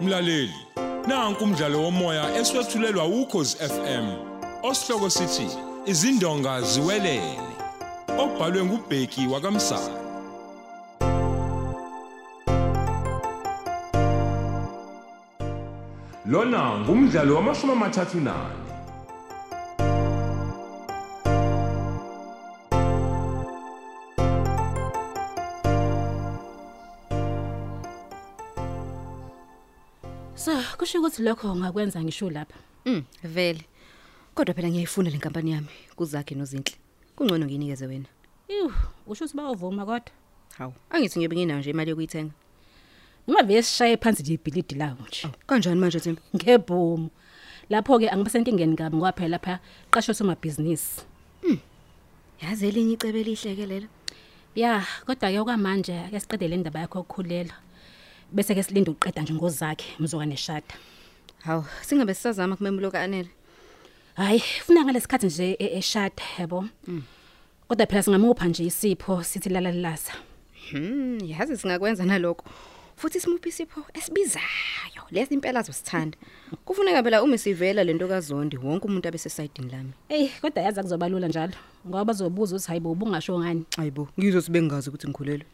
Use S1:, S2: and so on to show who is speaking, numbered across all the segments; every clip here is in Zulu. S1: Mlaleli, nanku umdlalo womoya eswetshulelwa ukhozi FM. Osihloko sithi izindonga ziwelele. Obhalwe ngubheki wakamsana. Lona ngumdlalo wamashumi amathathu nane.
S2: So, kusho ukuthi lokho ngakwenza ngisho lapha.
S3: Mm, vele. Kodwa phela ngiyayifuna le nkampani yami kuzakhe nozinhle. Kungcono nginikeze wena.
S2: Ew, usho ukuthi bayovuma kodwa.
S3: Hawu, angithi ngiyobe nginayo nje imali yokuyithenga.
S2: Noma besishaye phansi nje ibhilidi lawo
S3: Oh.
S2: nje.
S3: Kanjani manje Thembi?
S2: Ngebhomu. Lapho ke angibasenkingeni kabi ngwaphela lapha qasho somabhizinisi.
S3: Yazi elinye icebe elihleke lelo.
S2: Ya, kodwa ke okwamanje yasiqedele indaba yakho yokukhulela. Bese ke silinde uqeda nje ngozakhe mzoka neshada.
S3: Hawu, singabe sisazama kumemulo kaanele.
S2: Hayi, funa ngalesikhathi nje e- eshada yabo. Kodwa phela singamupha nje isipho sithi lalalilasa.
S3: Hmm, yazi singakwenza nalokho. Futhi simuphi isipho esibizayo. Lesi impela azosithanda. Kufuneka phela uma sivela lento kaZondi wonke umuntu abesesayidini lami.
S2: Ey, kodwa yazi akuzobalula njalo. Ngoba bazobuza ukuthi hayibo ubungasho ngani.
S3: Hayibo, ngizothi bengazi ukuthi ngikhulelwe.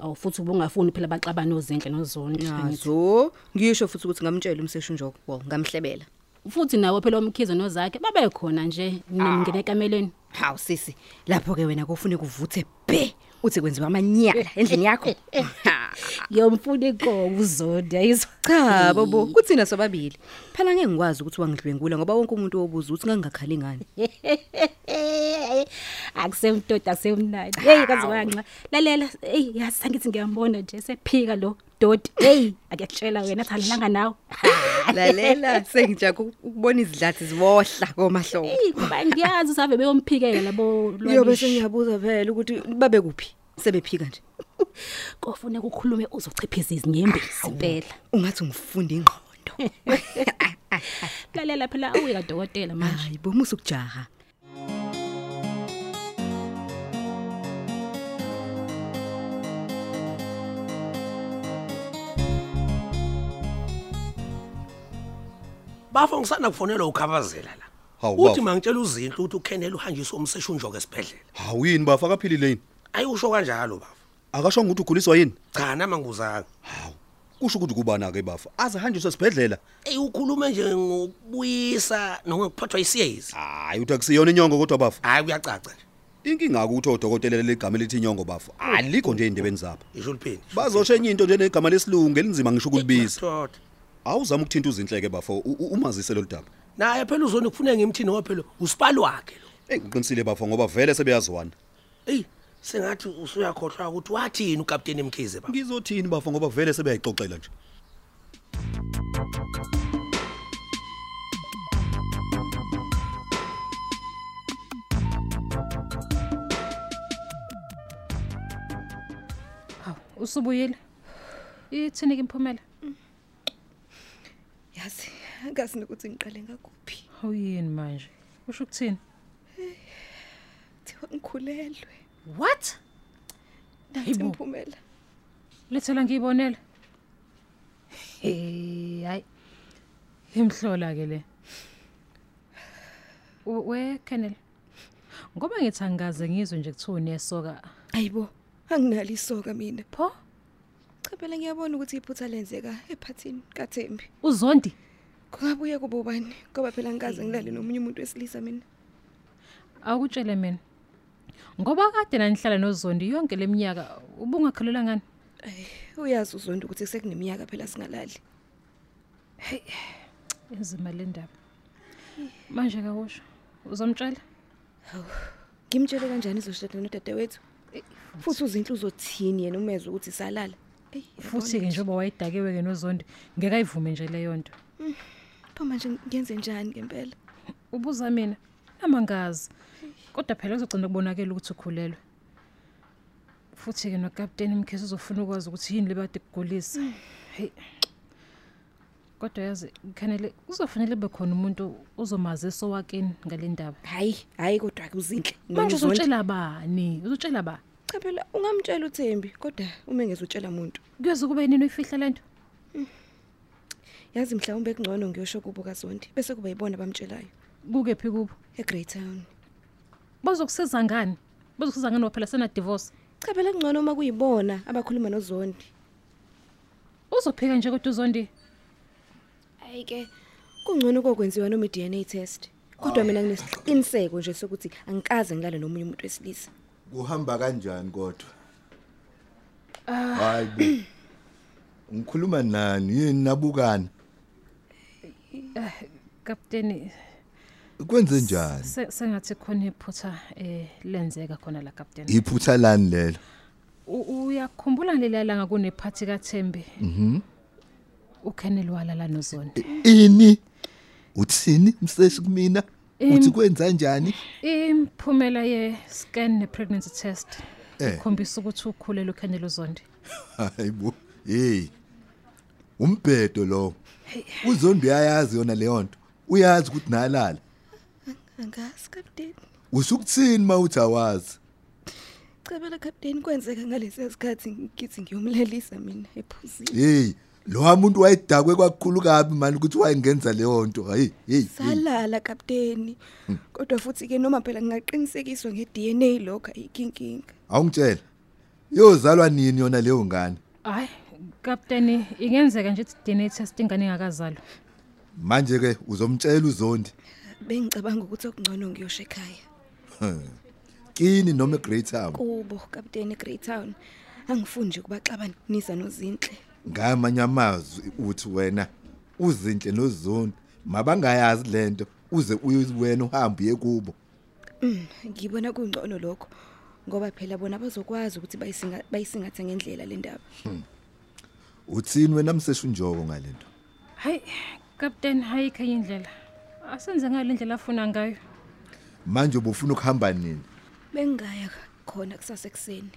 S2: Awu futhi ubungafuni phela baxabana ozinhle nozondi. angithi.
S3: Nazo, ngisho futhi ukuthi ngamtshela umseshi njoko. Well, ngamhlebela.
S2: Futhi nawo phela omkhizo nozakhe babekhona nje ngingene ekameleni.
S3: Hawu sisi, lapho ke wena kufuneka uvuthe be uthi kwenziwa amanyala endlini yakho.
S2: Yomfuni inkomo uzondi ayizwa.
S3: Cha bobo, kuthina sobabili. Phela ngeke ngikwazi ukuthi wangidlwengula ngoba wonke umuntu obuza ukuthi ngangingakhali ngani.
S2: Akusemtoda akusemnandi. Hey kaze wanxa. Lalela, hey yazi sangithi ngiyambona nje sephika lo dodi. Hey akuyakutshela wena athalanga nawe.
S3: Lalela, sengijaka ukubona izidlathi ziwohla komahlobo.
S2: Hey kuba ngiyazi usabe beyomphikela bo
S3: Yobe sengiyabuza phela ukuthi babe kuphi? Sebephika nje.
S2: Kofuneka ukhulume uzochiphiza izinyembezi impela.
S3: Ungathi ungifunda ingqondo.
S2: Lalela phela awuye kadokotela manje.
S3: Hayi bomusa ukujaha.
S4: bafo ngisanda kufonelwa ukukhabazela la
S5: Hawu,
S4: uthi
S5: bafo.
S4: mangitshela uzinhle ukuthi ukhenele uhanjiswe umseshunjoko esibhedlela
S5: Hawu yini bafa kaphilile yini?
S4: ayusho kanjalo bafo
S5: Akasho ukuthi uguliswa yini?
S4: cha nama nguzanga
S5: Hawu. Kusho ukuthi kubana ke bafa. Azihanjiswe sibedlela.
S4: eyi ukhulume nje ngokubuyisa nokuphathwa isiyezi
S5: Hayi uthi akusiyona inyongo kodwa bafa.
S4: hhayi kuyacaca nje
S5: Inkinga ukuthi odokotela legama elithi inyongo bafa. Alikho nje indebeni zabo.
S4: isho uliphini
S5: Bazoshenye into nje negama lesilungu elinzima ngisho ukulibiza.
S4: tota
S5: Awuzama ukuthinta uzinhleke bafa u- u- umazise lo daba.
S4: naye phela uzoni kufuneka ngimthini ngoba phela usipali wakhe lo
S5: Engiqinisile bafa ngoba vele sebeyaziwana.
S4: eyi sengathi usuyakhohlwa ukuthi wathini ukapteni mkhize bafo
S5: Ngizothini bafa ngoba vele sebeyayixoxela nje.
S6: Usubuyile. Ithini ke imphumela?
S3: Yazi, angazi ukuthi ngiqale ngakuphi.
S6: Awuyini manje? Usho ukuthini?
S3: Thiwa ngikhulelwe.
S6: What?
S3: Nathi
S6: Hayibo.
S3: imphumela.
S6: Lethela ngiyibonela. Eh, hayi. Imhlola ke le. U- We Kennel. Ngoba ngithi angikaze ngizwe nje kuthiwa unesoka.
S7: Ayibo, anginalo isoka mina.
S6: Pho?
S7: Cha phela ngiyabona ukuthi iphutha lenzeka ephathini kaThembi.
S6: Uzondi.
S7: Kungabuye kube ubani? Ngoba phela ngikaze ngilale nomunye umuntu wesilisa mina.
S6: Awukutshele mina. Ngoba kade nanihlala noZondi yonke leminyaka ubungakhalelwa ngani?
S7: Uyazi uzonda ukuthi sekuneminyaka phela singalali.
S6: Inzima le ndaba. Manje kawusho. Uzomtshela?
S7: Ngimtshele kanjani izoshada nodadewethu? Futhi uzinhle uzothini yena umezwe ukuthi salala? Eyi,
S6: futhi ke njengoba wayedakiwe ke nozondi ngeke ayivume nje leyo nto
S7: Mm. pho manje ngiyenze njani ngempela?
S6: ubuza mina namangazi kodwa phela uzogcina kubonakala ukuthi ukhulelwe futhi ke nokapteni mkhesi uzofuna ukwazi ukuthi yini lebade kugulisa
S7: Mm.
S6: hey kodwa yazi kanele kuzofanele bekhona umuntu uzomaziso wakini ngale ndaba
S7: Hayi, hayi kodwa ke uzinhle.
S6: manje uzotshela bani uzotshela ba
S7: Cha phela ungamtshela uThembi, kodwa uma ngezutshela umuntu.
S6: kuyoze kube yini uyifihla lento
S3: yazi mhlawumbe kungcono ngiyosho kubo kazondi bese kuba yibona abamtshelayo
S6: kukephi kubo
S3: egreytown
S6: bazokusiza ngani bazokusiza ngani waphela senadivorce
S3: cha phela kungcono uma kuyibona abakhuluma nozondi
S6: uzophika nje kodwa uzondi
S3: hayi ke kungcono kokwenziwa noma i-dna test kodwa mina nginesiqiniseko nje sokuthi angikaze ngilale nomunye umuntu wesilisa
S8: kuhamba kanjani kodwa hayi bo ngikhuluma nani yini nabukani
S6: kapteni
S8: kwenze njani
S6: se- sengathi khona iphutha eh lenzeka khona la kapteni
S8: iphutha lani lelo
S6: U- uyakhumbula leliya langa kunephathi kathembi mhm uKenneth walala nozondi
S8: ini uthini msesi kumina uthi kwenza njani
S6: imphumela ye scan ne pregnancy test
S8: Eh.
S6: ikhombisa ukuthi ukhulelwe uKenneth uzondi
S8: hayi bo hey umbhedo lo uzondo uyayazi yona leyo nto uyazi ukuthi nalala
S3: angazi kapteni
S8: usukuthini mawuthi awazi
S3: cabela kapteni kwenzeka ngalesi sikhathi ngithi ngiyomlalisa mina ephuzini
S8: hey lo muntu wayedakwe kwakukhulu kabi manje ukuthi wayingenza leyo nto hayi hey hey.
S3: salala kapteni kodwa futhi ke noma phela ngingaqinisekiswa nge-dna lokho ayikhinkinga
S8: awungitshela yozalwa nini yona leyo ngane
S6: hayi kapteni ingenzeka nje ukuthi DNA test ingane ingakazalwa
S8: manje ke uzomtshela uzondi
S3: bengicabanga ukuthi okungcono ngiyosho ekhaya
S8: kini noma eGreatham
S3: kubo kapteni egreytown angifuni nje ukubaxabanisa nozinhle
S8: ngamanye amazwi uthi wena uzinhle nozondi mabangayazi lento uze uye wena uhambe uye kubo
S3: ngibona kungcono lokho ngoba phela bona bazokwazi ukuthi bayisinga- bayisingathe ngendlela le ndaba
S8: uthini wena mseshu njoko ngalento
S6: hayi kapteni hayi khe indlela asenze ngale ndlela afuna ngayo
S8: manje ubufuna ukuhamba nini
S3: bengingaya khona kusasa ekuseni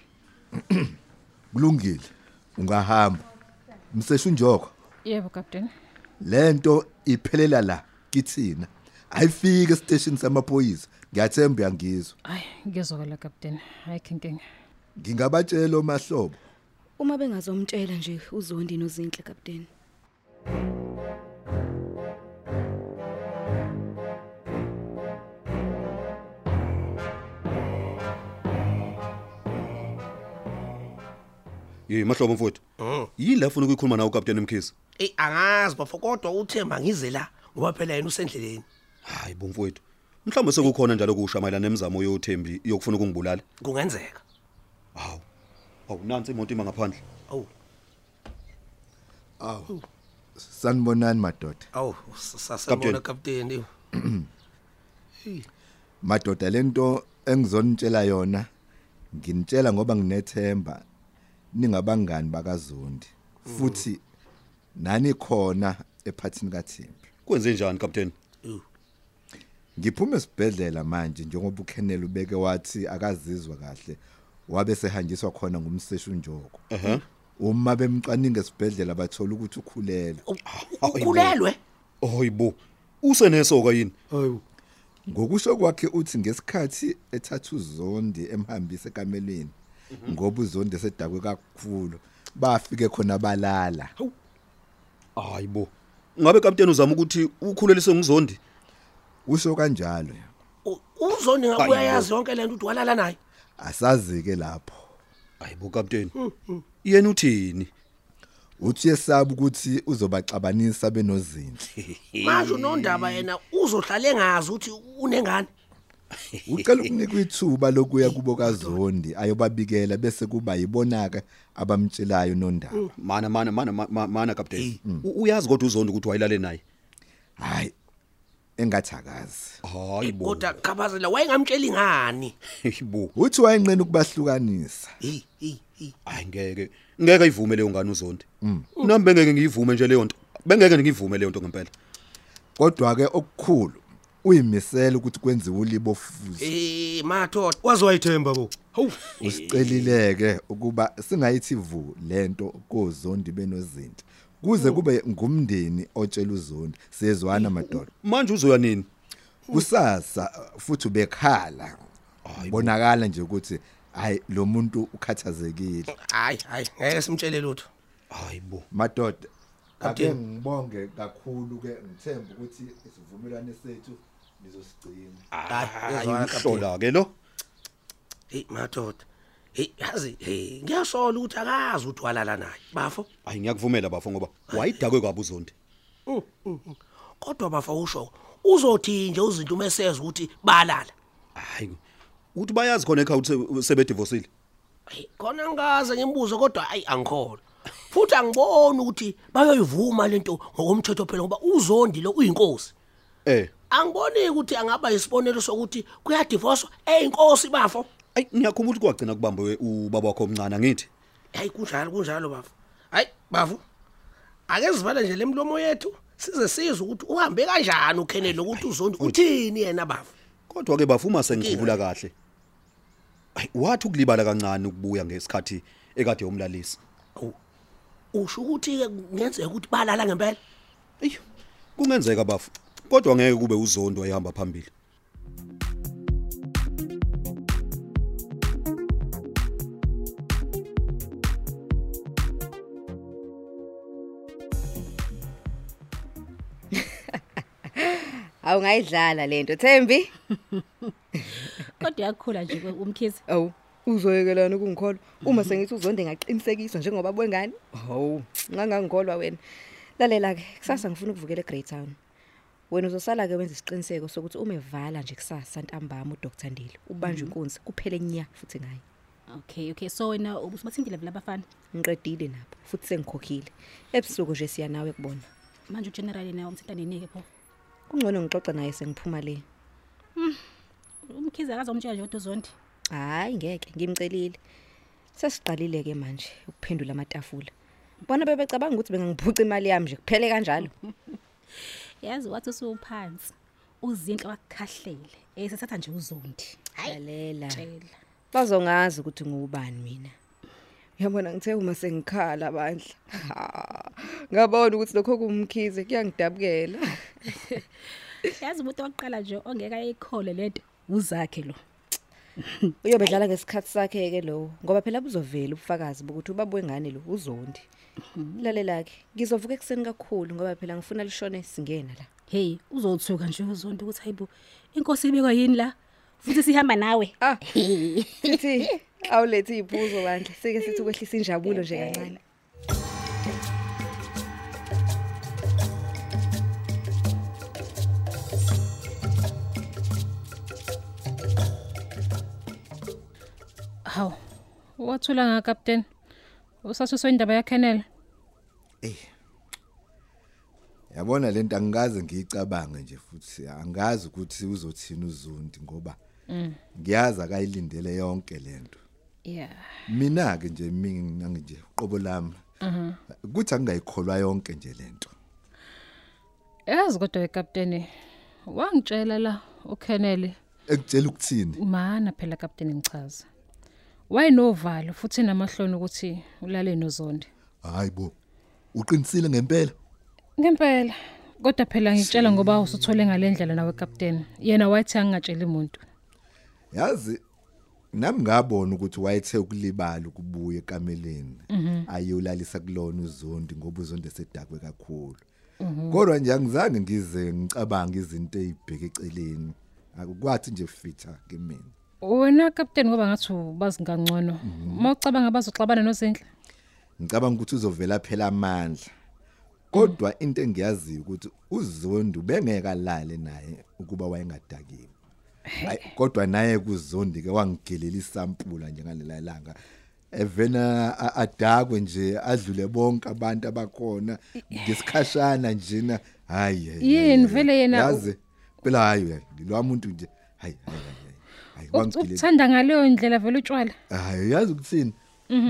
S8: kulungile ungahamba mseshu njoko
S6: yebo kapteni
S8: lento iphelela la kithina ayifike esiteshini samaphoyisa ngiyathemba uyangizwa
S6: hayi ngiyezwakala kapteni hayi khe inkinga
S8: ngingabatshela omahlobo
S3: uma bengazomtshela nje uzondi nozinhle kapteni
S5: yeyi mahlobo mfowethu yini la funa ukuyikhuluma nawo ukapteni mkhizi
S4: eyi angazi bafo kodwa uthemba ngize la ngoba phela yena usendleleni
S5: hayi bo mfowethu mhlawumbe sekukhona njalo kusha mayelana nemizamo yothembi yokufuna ukungibulala
S4: kungenzeka
S5: hawu hawu nansi imoto ima ngaphandle
S4: awu
S8: sanibonani madoda
S4: awu sasebona
S5: Captain.
S4: kapteni ewu.
S8: madoda lento engizonitshela yona nginitshela ngoba nginethemba ningabangani bakazondi futhi nani khona ephathini kaThembi
S5: kwenze njani kapteni
S8: ngiphume esibhedlela manje njengoba uKenneth ubeke wathi akazizwa kahle wabe sehanjiswa khona ngumseshu njoko
S5: ehe
S8: uma bemcwaninga esibhedlela bathola ukuthi ukhulelwe
S4: U- ukhulelwe
S5: hoyibo usenesoka yini
S4: hayibo
S8: ngokusho kwakhe uthi ngesikhathi ethatha uzondi emhambise ekamelweni ngoba uzondi esedakwe kakhulu bafike khona balala
S5: hayibo ngabe kapteni uzama ukuthi ukhulelise ngizondi
S8: usho kanjalo
S4: uzoni
S5: Hayibo.
S4: uyayazi yonke le nto ukuthi walala naye
S8: asazike lapho
S5: hayibo kapteni yena uthini
S8: uthi yesaba ukuthi uzobaxabanisa benozinhle
S4: manje unondaba yena uzohlale ngazi ukuthi unengane
S8: ucela ukunika ithuba lokuya kubo kazondi ayobabikela bese kuba yibonaka abamtshelayo nondaba
S5: mana mana mana ma- ma- mana kapteni U- uyazi kodwa uzondi ukuthi wayilale naye
S8: hayi engathakazi
S5: hayibo
S4: kodwa khabazela wayengamtsheli ngani
S5: hayibo
S8: uthi wayenqena ukubahlukanisa
S4: heyi heyi heyi
S5: hayi ngeke ngeke ivume leyo ngane uzondi nami bengeke ngiyivume nje leyo nto bengeke ngiyivume leyo nto ngempela
S8: kodwa ke okukhulu uyimisela ukuthi kwenziwe ulibo fuzo
S4: Eh mathoda waze wayithemba bo. Hawu.
S8: usicelileke ukuba singayithi vu lento kozondi benozinto kuze kube ngumndeni otshela uzondi siyezwana madoda
S5: manje uzoya nini
S8: kusasa futhi ubekhala
S5: Hayi bo.
S8: bonakala nje ukuthi hayi lo muntu ukhathazekile
S4: Hayi hayi ngeke simtshele lutho.
S5: hayibo
S8: madoda Ake
S4: Captain.
S8: ngibonge kakhulu ke ngithemba ukuthi isivumelwano sethu nizosigcina.
S4: Hayi
S5: Ihlola ke lo.
S4: Hey madoda. Hey yazi hey ngiyasola ukuthi akazi uthwalala naye. Bafo.
S5: Hayi ngiyakuvumela bafo ngoba wayidakwe kwabu zondi.
S4: Kodwa bafo usho uzothi nje uzinto umeseza ukuthi balala.
S5: Hayi uthi bayazi khona ekhaya ukuthi sebedivosile.
S4: Hey khona ngaze ngimbuzo kodwa hayi angikholwa. Futhi angiboni ukuthi bayoyivuma lento ngokomthetho phela ngoba uzondi lo uyinkosi.
S5: Eh.
S4: Angiboni ukuthi angaba isibonelo sokuthi kuyadivoswa eyinkosi bafo.
S5: Ayi ngiyakhumbula ukuthi kwagcina kubambwe ubaba wakho omncane ngithi.
S4: hayi kunjalo kunjalo bafu hayi bafu ake sivale nje lemlomo yethu size sizwe ukuthi uhambe kanjani ukhenele ukuthi uzondi uthini yena bafu
S5: Kodwa ke bafuma sengikhumbula kahle. Ayi wathi ukulibala kancane ukubuya ngesikhathi ekade yomlalisi.
S4: Awu, usho ukuthi ke kungenzeka ukuthi balala ngempela
S5: Eyo. Kungenzeka bafu. Kodwa ngeke kube uzondo ayihamba phambili.
S3: awungayidlala lento Thembi
S2: kodwa uyakhula nje ke umkhize
S3: awu uzoyekelana ukungikholwa uma sengithi uzonde ngaqinisekiswa njengoba bwengane hawu ngangangikholwa wena lalela ke kusasa ngifuna ukuvukela eGreytown wena uzosala ke wenza isiqiniseko sokuthi uma evala nje kusasa ntambama uDr Ndile ubanjwe inkunzi kuphele nya futhi ngaye
S2: okay okay so wena ubusubathindile vele abafana
S3: ngiqedile nabo futhi sengikhokhile ebusuku nje siya nawe kubona
S2: manje ugeneral yena umthintaneni-ke pho
S3: kungcono ngixoxe naye sengiphuma le
S2: umkhize akazomtshela nje kodwa uzondi
S3: hayi ngeke ngimcelile sesiqalile ke manje ukuphendula amatafula bona bebecabanga ukuthi bengangiphuca imali yami nje kuphele kanjalo
S2: yazi wathi usuwuphansi uzinhle wakukhahlele esethatha nje uzondi
S3: lalela
S2: tshela
S3: bazongazi ukuthi ngubani mina uyabona ngithe uma sengikhala bandla Ha, ngabona ukuthi lokho kumkhize kuyangidabukela
S2: yazi umuntu wakuqala nje ongeke ayikhole lento uzakhe lo
S3: uyobedlala ngesikhathi sakhe ke lowo ngoba phela buzovela ubufakazi bokuthi ubaba wengane lo uzondi lalela-ke ngizovuka ekuseni kakhulu ngoba phela ngifuna lishone singena la
S2: heyi uzothuka nje uzondi ukuthi hayi bo inkosi ibekwa yini la futhi sihamba nawe
S3: ah sithi awulethe iy'phuzo bandla sike sithi ukwehlisa injabulo nje kancane
S6: hawu wathula ngakapteni usasuswe indaba yakhenela
S8: Eh. Yabona lento angikaze ngiyicabange nje futhi angazi ukuthi uzothina uzondi ngoba ngiyazi akayilindele yonke lento.
S6: ya
S8: Mina ke nje mina nje uqobo lami. Kuthi angayikholwa yonke nje lento.
S6: yazi kodwa ikapteni wangitshela la ukhenele
S8: Ekutshela ukuthini?
S6: mana phela kapteni ngichaza wayenovalo futhi namahloni ukuthi ulale nozondi
S8: Hayibo. Uqinisile ngempela?
S6: ngempela kodwa phela ngitshela ngoba usuthole ngalendlela nawe kapteni yena wathi angingatsheli muntu
S8: yazi nami ngabona ukuthi wayethe ukulibala ukubuya ekameleni ayolalisa kulona uzondi ngoba uzondi esedakwe kakhulu kodwa nje angizange ngize ngicabange izinto ezibheke eceleni akwathi nje fitha kimina
S6: wena kapteni ngoba ngathi ubazi ngangcono uma ucabanga bazoxabana nozinhle
S8: ngicabanga ukuthi uzovela phela amandla kodwa into engiyaziyo ukuthi uzondi ubengeka lale naye ukuba wayengadakiwe Ay, kodwa naye kuzondi ke wangigelela isampula nje ngalelalanga evena a- adakwe nje adlule bonke abantu abakhona ngesikhashana njena hayi hayi, hayi,
S6: Yini
S8: hayi.
S6: vele yena-
S8: yazi phela hayi hayi, lo muntu nje hayi hayi hayi, hayi wangigelela
S6: ukuthanda ngaleyo ndlela vele utshwala
S8: hayi yazi ukuthini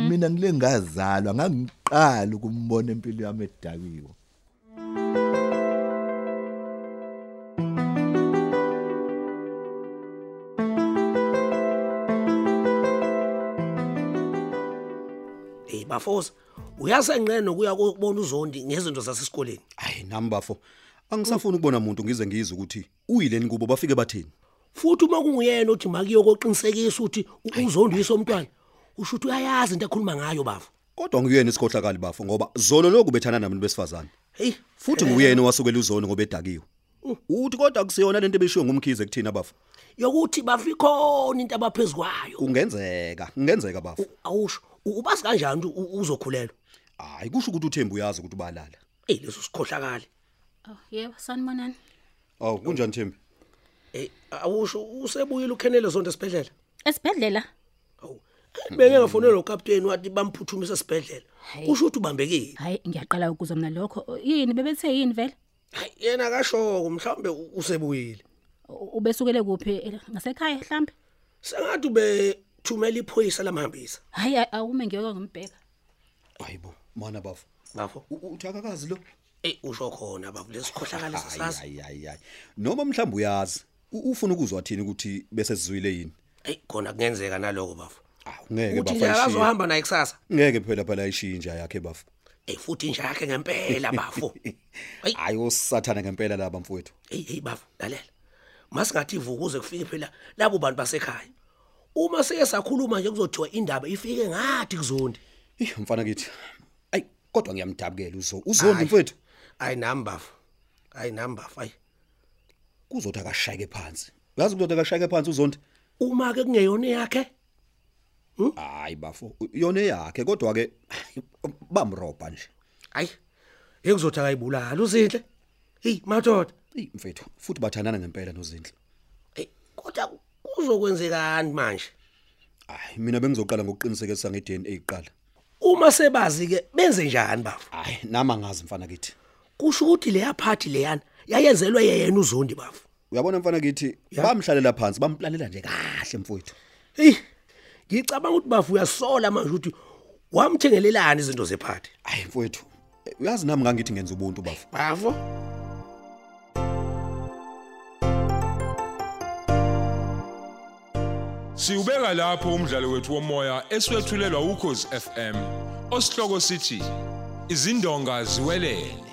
S8: mina ngile ngazalwa ngangiqala ukumbona impilo yami edakiwe
S4: hey bafosa uyasenqene ukuya kubona uzondi ngezinto zasesikoleni
S5: Hayi nami bafo. Angisafuni ukubona umuntu ngize ngizwe ukuthi uyileni kubo bafike bathini.
S4: futhi uma kunguyena othi makuyo koqinisekisa ukuthi uzondi uyise umntwana usho ukuthi uyayazi into ekhuluma ngayo bafo
S5: Kodwa nguyena isikhohlakali bafo ngoba zolo lokhu bethana nabantu besifazane.
S4: heyi
S5: Futhi nguyena wasukela uzono ngoba edakiwe. Uthi kodwa kusiyona lento ebishiwe ngumkhize kuthina bafo.
S4: yokuthi bafa ikhona into abaphezu kwayo
S5: Kungenzeka, kungenzeka bafo.
S4: awusho u- ubazi kanjani ukuthi u- uzokhulelwa
S5: Hayi kusho ukuthi uThembu uyazi ukuthi balala.
S4: eyi leso sikhohlakali
S2: Oh, yebo, sanibonani.
S5: Awu kunjani Thembi?
S4: eyi Eh, awusho usebuyile ukhenele zonto esibhedlela
S2: Esibhedlela.
S4: hawu beke ngafonela ukapteni wathi bamphuthumise esibhedlela kusho ukuthi ubambekile
S2: Hayi, ngiyaqala ukuzwa mina lokho. Yini bebethe yini vele?
S4: hayi yena akashoko mhlawumbe u- usebuyile
S2: U- Ubesukele kuphi? Eh, Ngasekhaya mhlambe?
S4: sengathi ubethumela iphoyisa lamhambisa
S2: Hayi, hayi, awume ngiyeke ngimbheka.
S5: Hayibo, mana bafo.
S4: bafo
S5: U- Uthi akakazi lo.
S4: eyi usho khona bafo lesikhohlakali sasazi
S5: Hayi hayi hayi. Noma mhlawumbe uyazi u- ufuna ukuzwa thini ukuthi bese sizwile yini?
S4: eyi khona kungenzeka naloko bafo
S5: Awu
S4: uthi
S5: ngeke bafo.
S4: nje
S5: ayishiye.
S4: akazohamba naye kusasa
S5: Ngeke phela phela ishinja yakhe bafo.
S4: eyi Eh, futhi inja yakhe ngempela bafo Hayi.
S5: Hayi osathana ngempela laba mfowethu.
S4: eyi eyi bafo lalela masingathi ivuka kuze kufike phela labo bantu basekhaya uma sike sakhuluma nje kuzothiwa indaba ifike ngathi kuzondi
S5: Ih mfana kithi. Ayi kodwa ngiyamdabukela uzo. Uzondi mfowethu.
S4: hayi nami bafo hayi nami bafo hayi
S5: Kuzothi akashayeke phansi. Uyazi ukuthi akashayeke phansi uzondi.
S4: uma-ke kungeyona yakhe
S5: Hayi bafo. Yona yakhe kodwa ke bamroba nje.
S4: hayi ekuzothi akayibulala uzinhle eyi madoda
S5: Ey mfethu, futhi bathandana ngempela nozinhle.
S4: eyi kodwa kuzokwenzekani manje
S5: Hayi mina bengizoqala ngokuqinisekisa ngeDNA iqala.
S4: uma sebazi-ke benze njani bafo
S5: Hayi nama ngazi mfana kithi.
S4: kusho ukuthi leya phathi leyana yayenzelwe yeyena uzondi bafo
S5: Uyabona mfana kithi bamhlalela phansi bamplalela nje kahle mfowethu.
S4: eyi ngicabanga ukuthi bafo uyasola manje ukuthi wamthengelelani izinto zephathi
S5: Hayi mfowethu, eh, uyazi nami ngangithi ngenza ubuntu bafo.
S4: bafo
S1: Siubeka lapho umdlalo wethu womoya eswetshulelwa ukhozi FM. Osihloko sithi izindonga ziwelele.